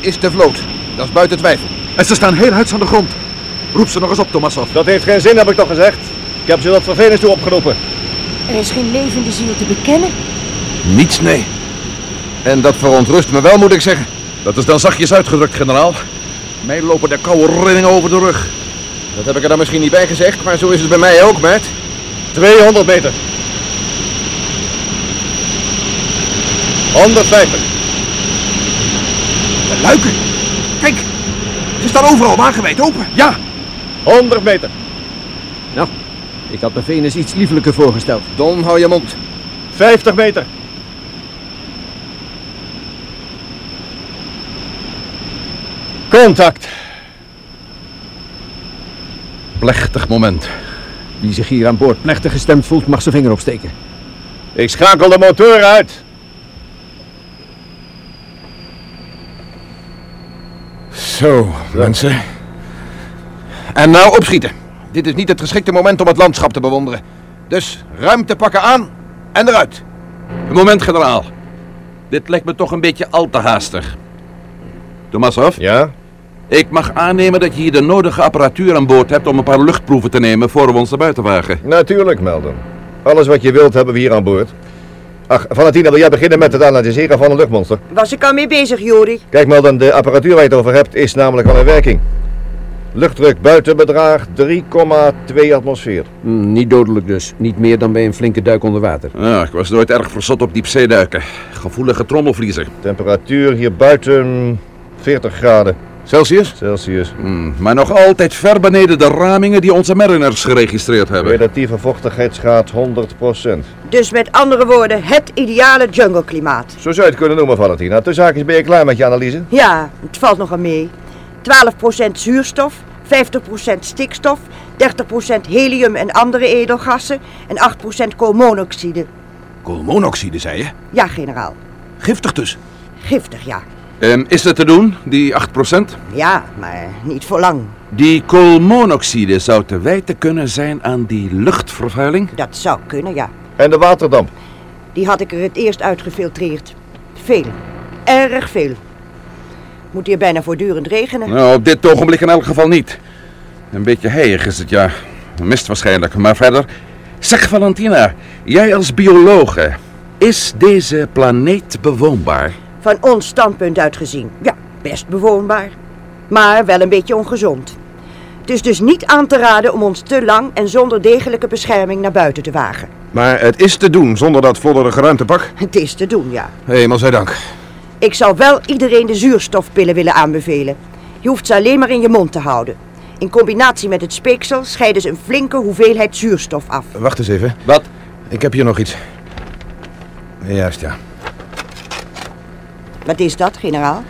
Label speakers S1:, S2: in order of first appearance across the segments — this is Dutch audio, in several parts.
S1: is de vloot. Dat is buiten twijfel.
S2: En ze staan heel huids aan de grond. Roep ze nog eens op, Tomassov.
S3: Dat heeft geen zin, heb ik toch gezegd. Ik heb ze dat vervelend toe opgeroepen.
S4: Er is geen levende ziel te bekennen.
S1: Niets, nee. En dat verontrust me wel, moet ik zeggen.
S2: Dat is dan zachtjes uitgedrukt, generaal. Mij lopen de koude rillingen over de rug.
S1: Dat heb ik er dan misschien niet bij gezegd, maar zo is het bij mij ook, Bert.
S3: 200 meter. 150.
S2: De luiken. Kijk, ze staan overal wagenwijd open. Ja,
S3: 100 meter.
S5: Nou, ik had me Venus iets liefelijker voorgesteld.
S1: Don, hou je mond.
S3: 50 meter.
S2: Contact. Plechtig moment.
S5: Wie zich hier aan boord plechtig gestemd voelt, mag zijn vinger opsteken.
S3: Ik schakel de motor uit.
S1: Zo, mensen. En nou opschieten. Dit is niet het geschikte moment om het landschap te bewonderen. Dus ruimte pakken aan en eruit.
S2: Een moment, generaal. Dit lijkt me toch een beetje al te haastig. Tomassov,
S3: Ja?
S2: ik mag aannemen dat je hier de nodige apparatuur aan boord hebt om een paar luchtproeven te nemen voor we ons naar buiten wagen.
S3: Natuurlijk, Melden. Alles wat je wilt hebben we hier aan boord. Ach, Valentina, wil jij beginnen met het analyseren van een luchtmonster?
S4: Was ik al mee bezig, Jori?
S3: Kijk, Melden, de apparatuur waar je het over hebt is namelijk al in werking. Luchtdruk buiten bedraagt 3,2 atmosfeer.
S5: Hm, niet dodelijk dus. Niet meer dan bij een flinke duik onder water.
S2: Ja, ik was nooit erg verzot op diepzeeduiken. Gevoelige trommelvliezen.
S3: Temperatuur hier buiten 40 graden
S2: Celsius?
S3: Celsius.
S2: Hm, maar nog altijd ver beneden de ramingen die onze mariners geregistreerd hebben.
S3: Relatieve vochtigheidsgraad 100%.
S4: Dus met andere woorden, het ideale jungleklimaat.
S3: Zo zou je het kunnen noemen, Valentina. Ten zaakjes ben je klaar met je analyse.
S4: Ja, het valt nogal mee. 12% zuurstof, 50% stikstof, 30% helium en andere edelgassen en 8% koolmonoxide.
S2: Koolmonoxide, zei je?
S4: Ja, generaal.
S2: Giftig dus.
S4: Giftig, ja.
S2: is dat te doen, die 8%?
S4: Ja, maar niet voor lang.
S2: Die koolmonoxide zou te wijten kunnen zijn aan die luchtvervuiling.
S4: Dat zou kunnen, ja.
S3: En de waterdamp.
S4: Die had ik er het eerst uitgefiltreerd. Veel. Erg veel. Moet hier bijna voortdurend regenen.
S2: Nou, op dit ogenblik in elk geval niet. Een beetje heilig is het, ja. Mist waarschijnlijk, maar verder. Zeg Valentina, jij als biologe, is deze planeet bewoonbaar?
S4: Van ons standpunt uit gezien, ja, best bewoonbaar. Maar wel een beetje ongezond. Het is dus niet aan te raden om ons te lang en zonder degelijke bescherming naar buiten te wagen.
S1: Maar het is te doen zonder dat vlodderige ruimtepak.
S4: Het is te doen, ja.
S1: Hemel zij dank.
S4: Ik zou wel iedereen de zuurstofpillen willen aanbevelen. Je hoeft ze alleen maar in je mond te houden. In combinatie met het speeksel scheiden ze een flinke hoeveelheid zuurstof af.
S1: Wacht eens even.
S2: Wat?
S1: Ik heb hier nog iets. Juist, ja.
S4: Wat is dat, generaal?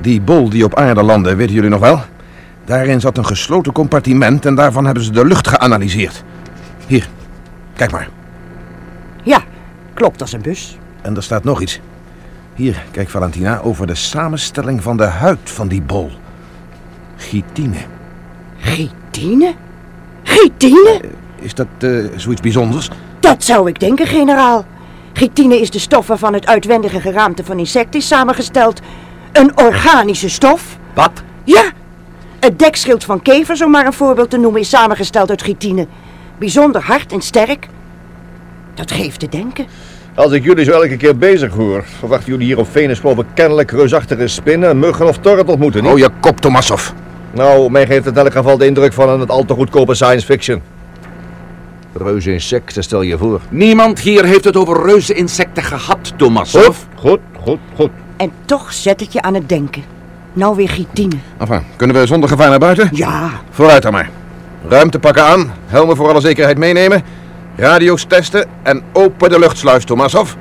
S1: Die bol die op aarde landde, weten jullie nog wel? Daarin zat een gesloten compartiment en daarvan hebben ze de lucht geanalyseerd. Hier, kijk maar.
S4: Ja, klopt als een bus.
S1: En er staat nog iets. Hier, kijk Valentina, over de samenstelling van de huid van die bol. Chitine.
S4: Gitine? Gitine?
S1: Is dat eh, zoiets bijzonders?
S4: Dat zou ik denken, generaal. Chitine is de stof waarvan het uitwendige geraamte van insecten is samengesteld. Een organische stof?
S2: Wat?
S4: Ja! Het dekschild van kevers, om maar een voorbeeld te noemen, is samengesteld uit chitine. Bijzonder hard en sterk. Dat geeft te denken.
S3: Als ik jullie zo elke keer bezig hoor, verwachten jullie hier op Venus geloof ik kennelijk reusachtige spinnen, muggen of torren te ontmoeten, niet?
S1: Oh, je kop, Tomassov.
S3: Nou, mij geeft het in elk geval de indruk van een al te goedkope science fiction.
S1: Reuze insecten, stel je voor.
S2: Niemand hier heeft het over reuze insecten gehad, Thomas.
S3: Goed, goed, goed, goed.
S4: En toch zet het je aan het denken. Nou weer chitine.
S1: Enfin, kunnen we zonder gevaar naar buiten?
S4: Ja,
S1: Vooruit dan maar. Ruimte pakken aan, helmen voor alle zekerheid meenemen, radio's testen en open de luchtsluis, Tomassov.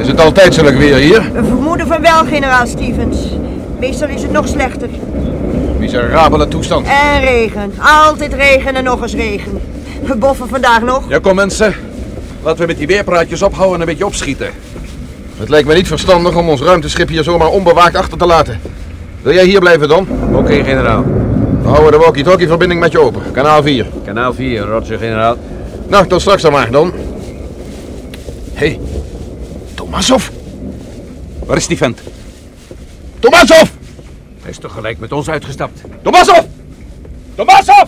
S1: Is het altijd zulk weer hier?
S4: een vermoeden van wel, generaal Stevens. Meestal is het nog slechter.
S3: Miserabele toestand.
S4: En regen. Altijd regen en nog eens regen. We boffen vandaag nog.
S1: Ja, kom mensen. Laten we met die weerpraatjes ophouden en een beetje opschieten.
S3: Het lijkt me niet verstandig om ons ruimteschip hier zomaar onbewaakt achter te laten. Wil jij hier blijven dan?
S5: Oké, generaal.
S3: We houden de walkie-talkie-verbinding met je open. Kanaal 4.
S5: Kanaal 4, roger, generaal.
S3: Nou, tot straks dan maar, dan. Hé, hey. Tomasov?
S1: Waar is die vent?
S3: Tomasov!
S5: Hij is tegelijk met ons uitgestapt.
S1: Tomasov! Tomasov!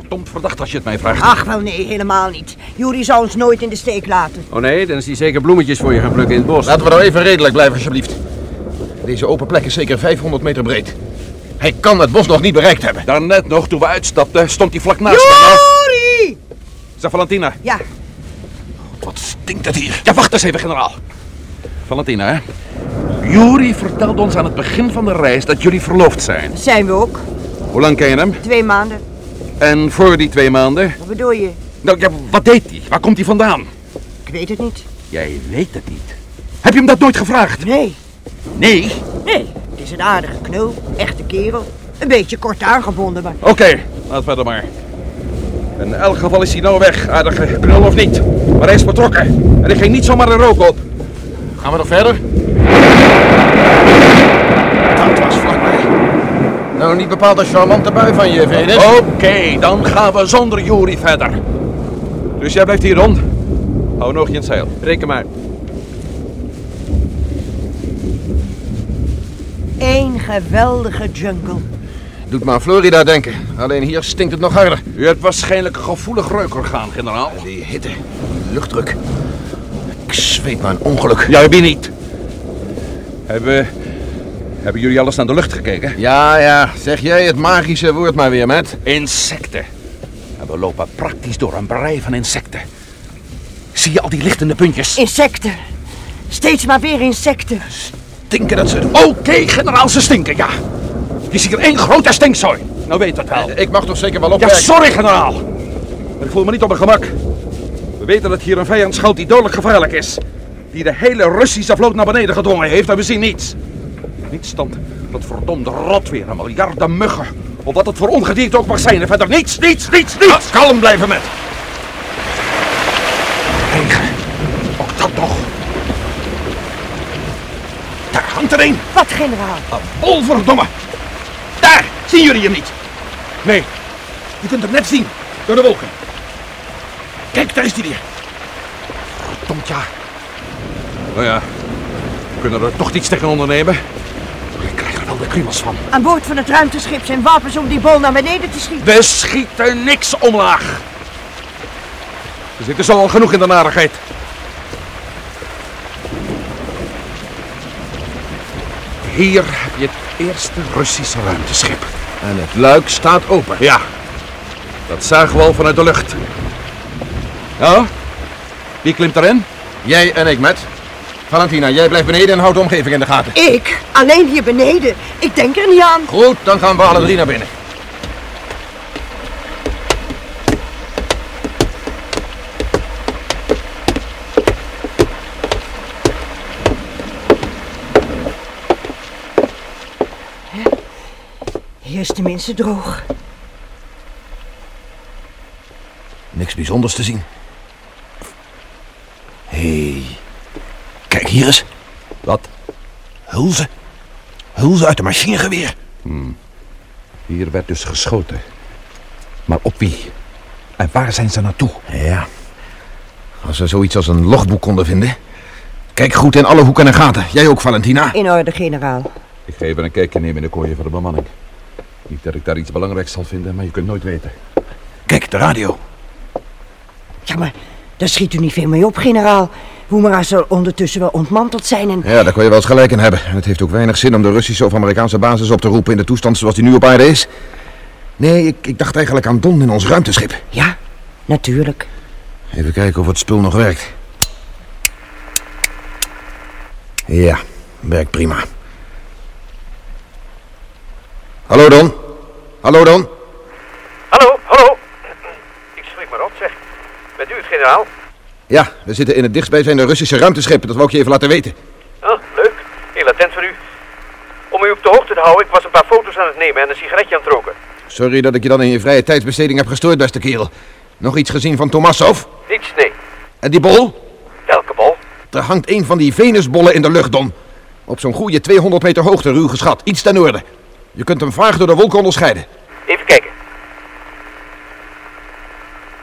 S1: Verdomd verdacht als je het mij vraagt.
S4: Ach, wel nee, helemaal niet. Juri zou ons nooit in de steek laten.
S5: Oh nee, dan is hij zeker bloemetjes voor je gaan plukken in het bos.
S3: Laten we nou even redelijk blijven, alsjeblieft. Deze open plek is zeker 500 meter breed. Hij kan het bos nog niet bereikt hebben.
S1: Daarnet nog, toen we uitstapten, stond hij vlak naast me.
S4: Juri!
S1: Zeg, Valentina.
S4: Ja,
S1: Wat stinkt het hier? Ja, wacht eens even, generaal. Valentina, hè? Juri vertelde ons aan het begin van de reis dat jullie verloofd zijn.
S4: dat zijn we ook.
S1: Hoe lang ken je hem?
S4: Twee maanden.
S1: En voor die twee maanden?
S4: Wat bedoel je?
S1: Nou, ja, wat deed hij? Waar komt hij vandaan?
S4: Ik weet het niet.
S1: Jij weet het niet. Heb je hem dat nooit gevraagd?
S4: Nee.
S1: Nee.
S4: Nee, het is een aardige knul. Echte kerel. Een beetje kort aangebonden, maar...
S1: Oké, laat verder maar. In elk geval is hij nou weg, aardige knul of niet. Maar hij is betrokken. En ik ging niet zomaar een rook op.
S3: Gaan we nog verder? Dat was vlakbij. Nou, niet bepaald een charmante bui van je, Venus.
S1: Oké, dan gaan we zonder Juri verder. Dus jij blijft hier rond. Hou nog je in het zeil.
S5: Reken maar.
S4: Eén geweldige jungle.
S3: Doet maar aan Florida denken. Alleen hier stinkt het nog harder.
S1: U hebt waarschijnlijk een gevoelig reukorgaan, generaal.
S3: Die hitte, luchtdruk. Ik zweet maar een ongeluk.
S1: Ja, wie niet? Hebben, hebben jullie alles naar de lucht gekeken?
S3: Ja, ja, zeg jij het magische woord maar weer, Matt.
S1: Insecten. En we lopen praktisch door een brei van insecten. Zie je al die lichtende puntjes?
S4: Insecten. Steeds maar weer insecten.
S1: Stinken dat ze... Oké, generaal, ze stinken, ja. Je ziet er één grote stinkzooi. Nou weet dat wel.
S3: Ik mag toch zeker wel
S1: Ja,
S3: opwerken?
S1: sorry, generaal. Maar ik voel me niet op mijn gemak. We weten dat hier een vijand schuilt die dodelijk gevaarlijk is. Die de hele Russische vloot naar beneden gedwongen heeft en we zien niets. Niets dan dat verdomde rotweer en miljarden muggen. Of wat het voor ongedierte ook mag zijn. En verder niets, niets, niets, niets.
S3: Kalm blijven, Matt.
S1: Regen. Ook dat nog. Daar hangt er een.
S4: Wat, generaal?
S1: Een bol, verdomme. Daar, zien jullie hem niet? Nee. Je kunt hem net zien, door de wolken. Kijk, daar is hij weer. Verdomd, ja. Nou ja, we kunnen er toch niets tegen ondernemen. Ik krijg er wel de kriemels van.
S4: Aan boord van het ruimteschip zijn wapens om die bol naar beneden te schieten.
S1: We schieten niks omlaag. We zitten zo al genoeg in de narigheid. Hier heb je het eerste Russische ruimteschip.
S3: En het luik staat open.
S1: Ja, dat zagen we al vanuit de lucht. Nou, wie klimt erin?
S3: Jij en ik, Matt. Valentina, jij blijft beneden en houdt de omgeving in de gaten.
S4: Ik? Alleen hier beneden? Ik denk er niet aan.
S3: Goed, dan gaan we alle drie naar binnen.
S4: Hier is tenminste droog.
S3: Niks bijzonders te zien. Hé, hey. kijk hier eens.
S1: Wat?
S3: Hulzen. Hulzen uit een machinegeweer.
S1: Hmm. Hier werd dus geschoten. Maar op wie? En waar zijn ze naartoe?
S3: Ja. Als we zoiets als een logboek konden vinden. Kijk goed in alle hoeken en gaten. Jij ook, Valentina.
S4: In orde, generaal.
S1: Ik ga even een kijkje nemen in de kooien van de bemanning. Niet dat ik daar iets belangrijks zal vinden, maar je kunt nooit weten.
S3: Kijk, de radio.
S4: Ja, maar daar schiet u niet veel mee op, generaal. Hoemera zal ondertussen wel ontmanteld zijn en...
S3: Ja, daar kon je wel eens gelijk in hebben. En het heeft ook weinig zin om de Russische of Amerikaanse basis op te roepen in de toestand zoals die nu op aarde is. Nee, ik, ik dacht eigenlijk aan Don in ons ruimteschip.
S4: Ja, natuurlijk.
S3: Even kijken of het spul nog werkt. Ja, werkt prima. Hallo Don. Hallo Don.
S6: Hallo, hallo. Ik schrik me rot, zeg. Bent u het, generaal?
S3: Ja, we zitten in het dichtstbijzijnde Russische ruimteschip. Dat wou ik je even laten weten.
S6: Oh, leuk. Heel attent van u. Om u op de hoogte te houden, ik was een paar foto's aan het nemen en een sigaretje aan het roken.
S1: Sorry dat ik je dan in je vrije tijdsbesteding heb gestoord, beste kerel. Nog iets gezien van Tomassov?
S6: Niets, nee.
S1: En die bol?
S6: Welke bol?
S1: Er hangt een van die Venusbollen in de lucht, Don. Op zo'n goede 200 meter hoogte, ruw geschat. Iets ten noorden. Je kunt hem vaag door de wolken onderscheiden.
S6: Even kijken.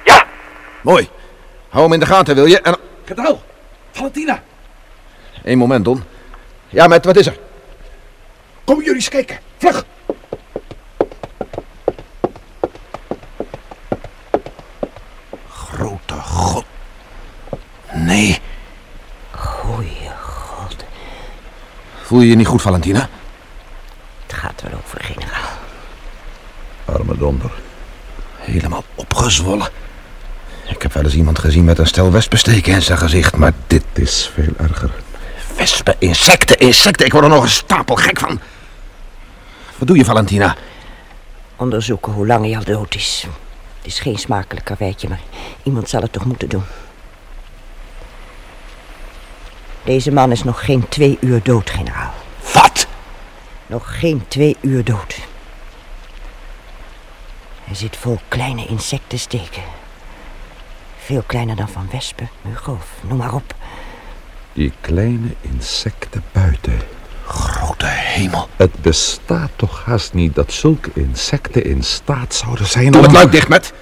S6: Ja,
S1: Mooi. Hou hem in de gaten, wil je? En...
S2: Kadal, Valentina,
S1: Eén moment, Don. Ja, met wat is er?
S2: kom jullie eens kijken. Vlug.
S1: Grote god. Nee.
S4: Goeie god.
S1: Voel je je niet goed, Valentina?
S4: Het gaat wel over, generaal.
S2: Arme donder.
S1: Helemaal opgezwollen. Ik heb wel eens iemand gezien met een stel wespen steken in zijn gezicht, maar dit...
S2: Het is veel erger.
S1: Wespen, insecten, insecten. Ik word er nog een stapel gek van. Wat doe je, Valentina?
S4: Onderzoeken hoe lang hij al dood is. Het is geen smakelijk karweitje, maar iemand zal het toch moeten doen. Deze man is nog geen twee uur dood, generaal.
S1: Wat?
S4: Nog geen twee uur dood. Hij zit vol kleine insectensteken. Veel kleiner dan van wespen, muggen of noem maar op.
S2: Die kleine insecten buiten.
S1: Grote hemel.
S2: Het bestaat toch haast niet dat zulke insecten in staat zouden zijn
S1: Doe
S2: om...
S1: het luik dicht, met.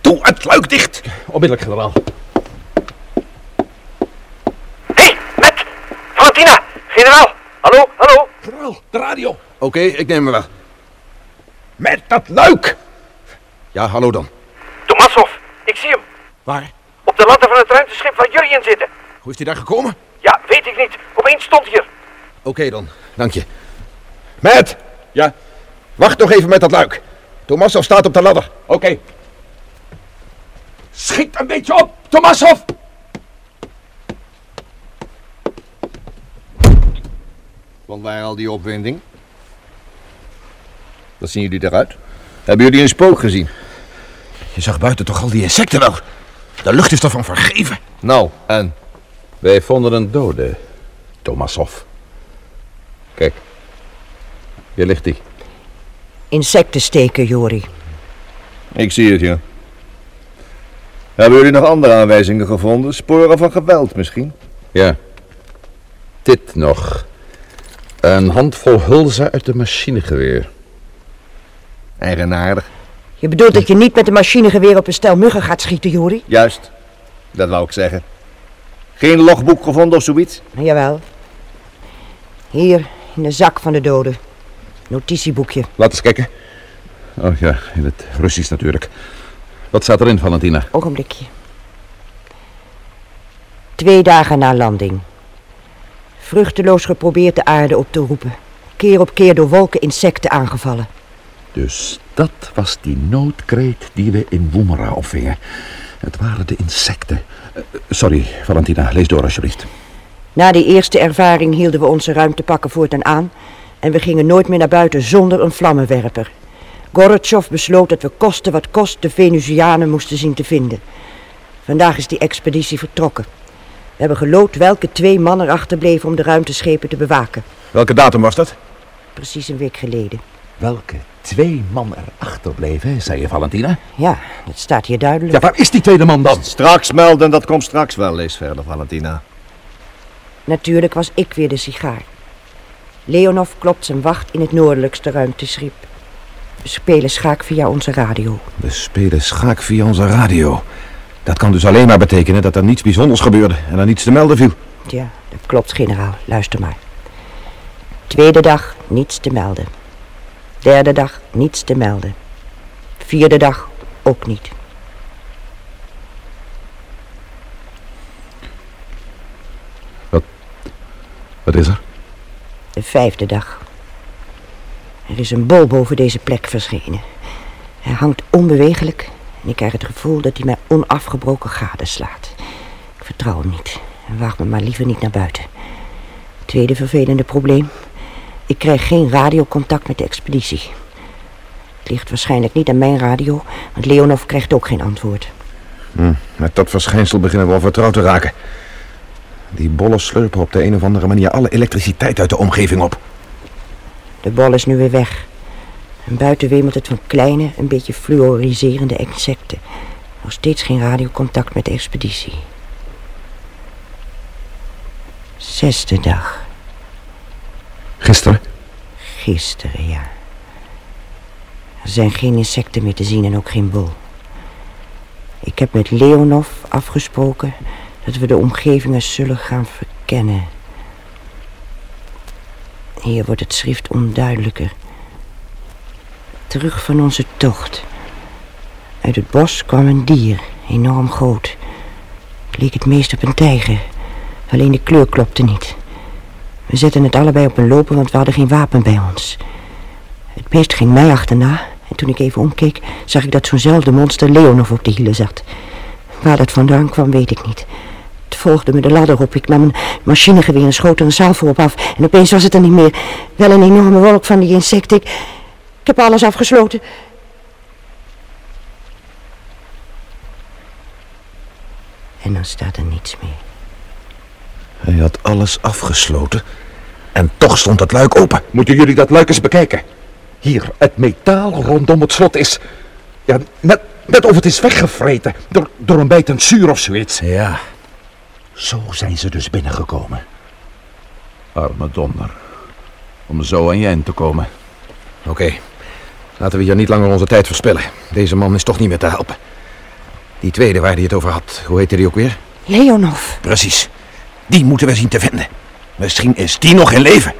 S1: Doe het luik dicht.
S5: Onmiddellijk, generaal.
S6: hé, hey, met Valentina, generaal. Hallo, hallo.
S2: Generaal, de radio.
S1: Oké, ik neem hem wel.
S2: Met dat luik.
S1: Ja, hallo dan.
S6: Tomassov, ik zie hem.
S1: Waar?
S6: Op de ladder van het ruimteschip waar jullie in zitten.
S1: Hoe is hij daar gekomen?
S6: Ja, weet ik niet. Opeens stond hij er.
S1: Oké dan, dank je. Matt,
S2: Ja,
S1: wacht nog even met dat luik. Tomassov staat op de ladder.
S2: oké. Schiet een beetje op, Tomassov.
S3: Want waar al die opwinding? Wat zien jullie eruit? Hebben jullie een spook gezien?
S1: Je zag buiten toch al die insecten wel? De lucht is toch van vergeven?
S3: Nou, en?
S2: Wij vonden een dode, Tomassov.
S3: Kijk. Hier ligt hij.
S4: Insectensteken, Jori.
S3: Ik zie het, ja. Hebben jullie nog andere aanwijzingen gevonden? Sporen van geweld misschien?
S2: Ja. Dit nog. Een handvol hulzen uit de machinegeweer.
S3: Eigenaardig.
S4: Je bedoelt dat je niet met een machinegeweer op een stel muggen gaat schieten, Jori?
S3: Juist. Dat wou ik zeggen. Geen logboek gevonden of zoiets?
S4: Jawel. Hier, in de zak van de doden. Notitieboekje.
S2: Laat eens kijken. Oh ja, in het Russisch natuurlijk. Wat staat erin, Valentina?
S4: Ogenblikje. Twee dagen na landing. Vruchteloos geprobeerd de aarde op te roepen. Keer op keer door wolken insecten aangevallen.
S2: Dus dat was die noodkreet die we in Woemera opvingen. Het waren de insecten. Eh, sorry, Valentina, lees door alsjeblieft.
S4: Na die eerste ervaring hielden we onze ruimtepakken voortaan aan en we gingen nooit meer naar buiten zonder een vlammenwerper. Gorotjov besloot dat we koste wat kost de Venusianen moesten zien te vinden. Vandaag is die expeditie vertrokken. We hebben geloot welke twee mannen achterbleven om de ruimteschepen te bewaken.
S1: Welke datum was dat?
S4: Precies een week geleden.
S2: Welke twee man erachter bleven, zei je, Valentina?
S4: Ja, dat staat hier duidelijk.
S2: Ja, waar is die tweede man dan?
S3: Straks melden, dat komt straks wel. Lees verder, Valentina.
S4: Natuurlijk was ik weer de sigaar. Leonov klopt zijn wacht in het noordelijkste ruimteschip. We spelen schaak via onze radio.
S1: We spelen schaak via onze radio. Dat kan dus alleen maar betekenen dat er niets bijzonders gebeurde en er niets te melden viel.
S4: Ja, dat klopt, generaal. Luister maar. Tweede dag, niets te melden. Derde dag, niets te melden. Vierde dag, ook niet.
S2: Wat is er?
S4: De vijfde dag. Er is een bol boven deze plek verschenen. Hij hangt onbewegelijk en ik krijg het gevoel dat hij mij onafgebroken gadeslaat. Ik vertrouw hem niet en waag me maar liever niet naar buiten. Tweede vervelende probleem. Ik krijg geen radiocontact met de expeditie. Het ligt waarschijnlijk niet aan mijn radio, want Leonov krijgt ook geen antwoord.
S1: Met dat verschijnsel beginnen we al vertrouwd te raken. Die bollen slurpen op de een of andere manier alle elektriciteit uit de omgeving op.
S4: De bol is nu weer weg. En buiten wemelt het van kleine, een beetje fluoriserende insecten. Nog steeds geen radiocontact met de expeditie. Zesde dag.
S2: Gisteren?
S4: Gisteren, ja. Er zijn geen insecten meer te zien en ook geen bol. Ik heb met Leonov afgesproken dat we de omgeving eens zullen gaan verkennen. Hier wordt het schrift onduidelijker. Terug van onze tocht. Uit het bos kwam een dier, enorm groot. Het leek het meest op een tijger. Alleen de kleur klopte niet. We zetten het allebei op een lopen, want we hadden geen wapen bij ons. Het beest ging mij achterna en toen ik even omkeek, zag ik dat zo'nzelfde monster Leonov op de hielen zat. Waar dat vandaan kwam, weet ik niet. Het volgde me de ladder op. Ik nam een machinegeweer en schoot er een zaal voorop af. En opeens was het er niet meer. Wel een enorme wolk van die insecten. Ik, ik heb alles afgesloten. En dan staat er niets meer.
S1: Hij had alles afgesloten. En toch stond dat luik open.
S2: Moeten jullie dat luik eens bekijken? Hier, het metaal rondom het slot is... Ja, net, net of het is weggevreten door, door een bijtend zuur of zoiets.
S1: Ja.
S2: Zo zijn ze dus binnengekomen. Arme donder. Om zo aan je eind te komen.
S1: Oké. Laten we hier niet langer onze tijd verspillen. Deze man is toch niet meer te helpen. Die tweede waar hij het over had, hoe heette die ook weer?
S4: Leonov.
S1: Precies. Die moeten we zien te vinden. Misschien is die nog in leven.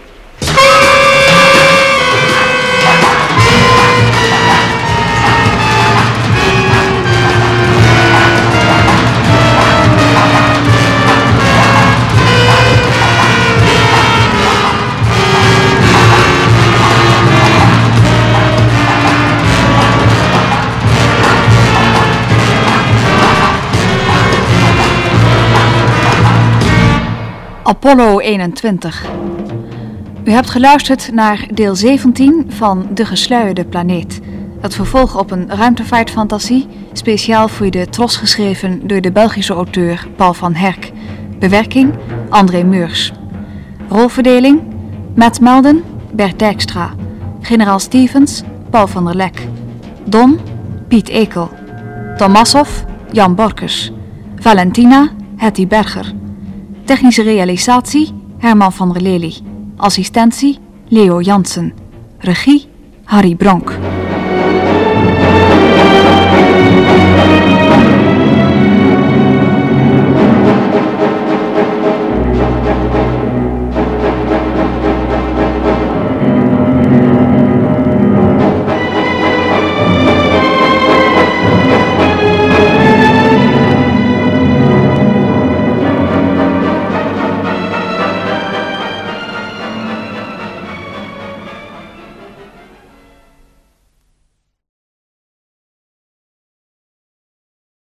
S7: Apollo 21. U hebt geluisterd naar deel 17 van De Gesluierde Planeet. Het vervolg op een ruimtevaartfantasie, speciaal voor de Tros geschreven door de Belgische auteur Paul van Herk. Bewerking André Meurs. Rolverdeling Matt Melden, Bert Dijkstra. Generaal Stevens, Paul van der Lek. Don, Piet Ekel. Tomassov, Jan Borkes. Valentina, Hetty Berger. Technische realisatie Herman van der Lely. Assistentie Leo Jansen. Regie Harry Bronk.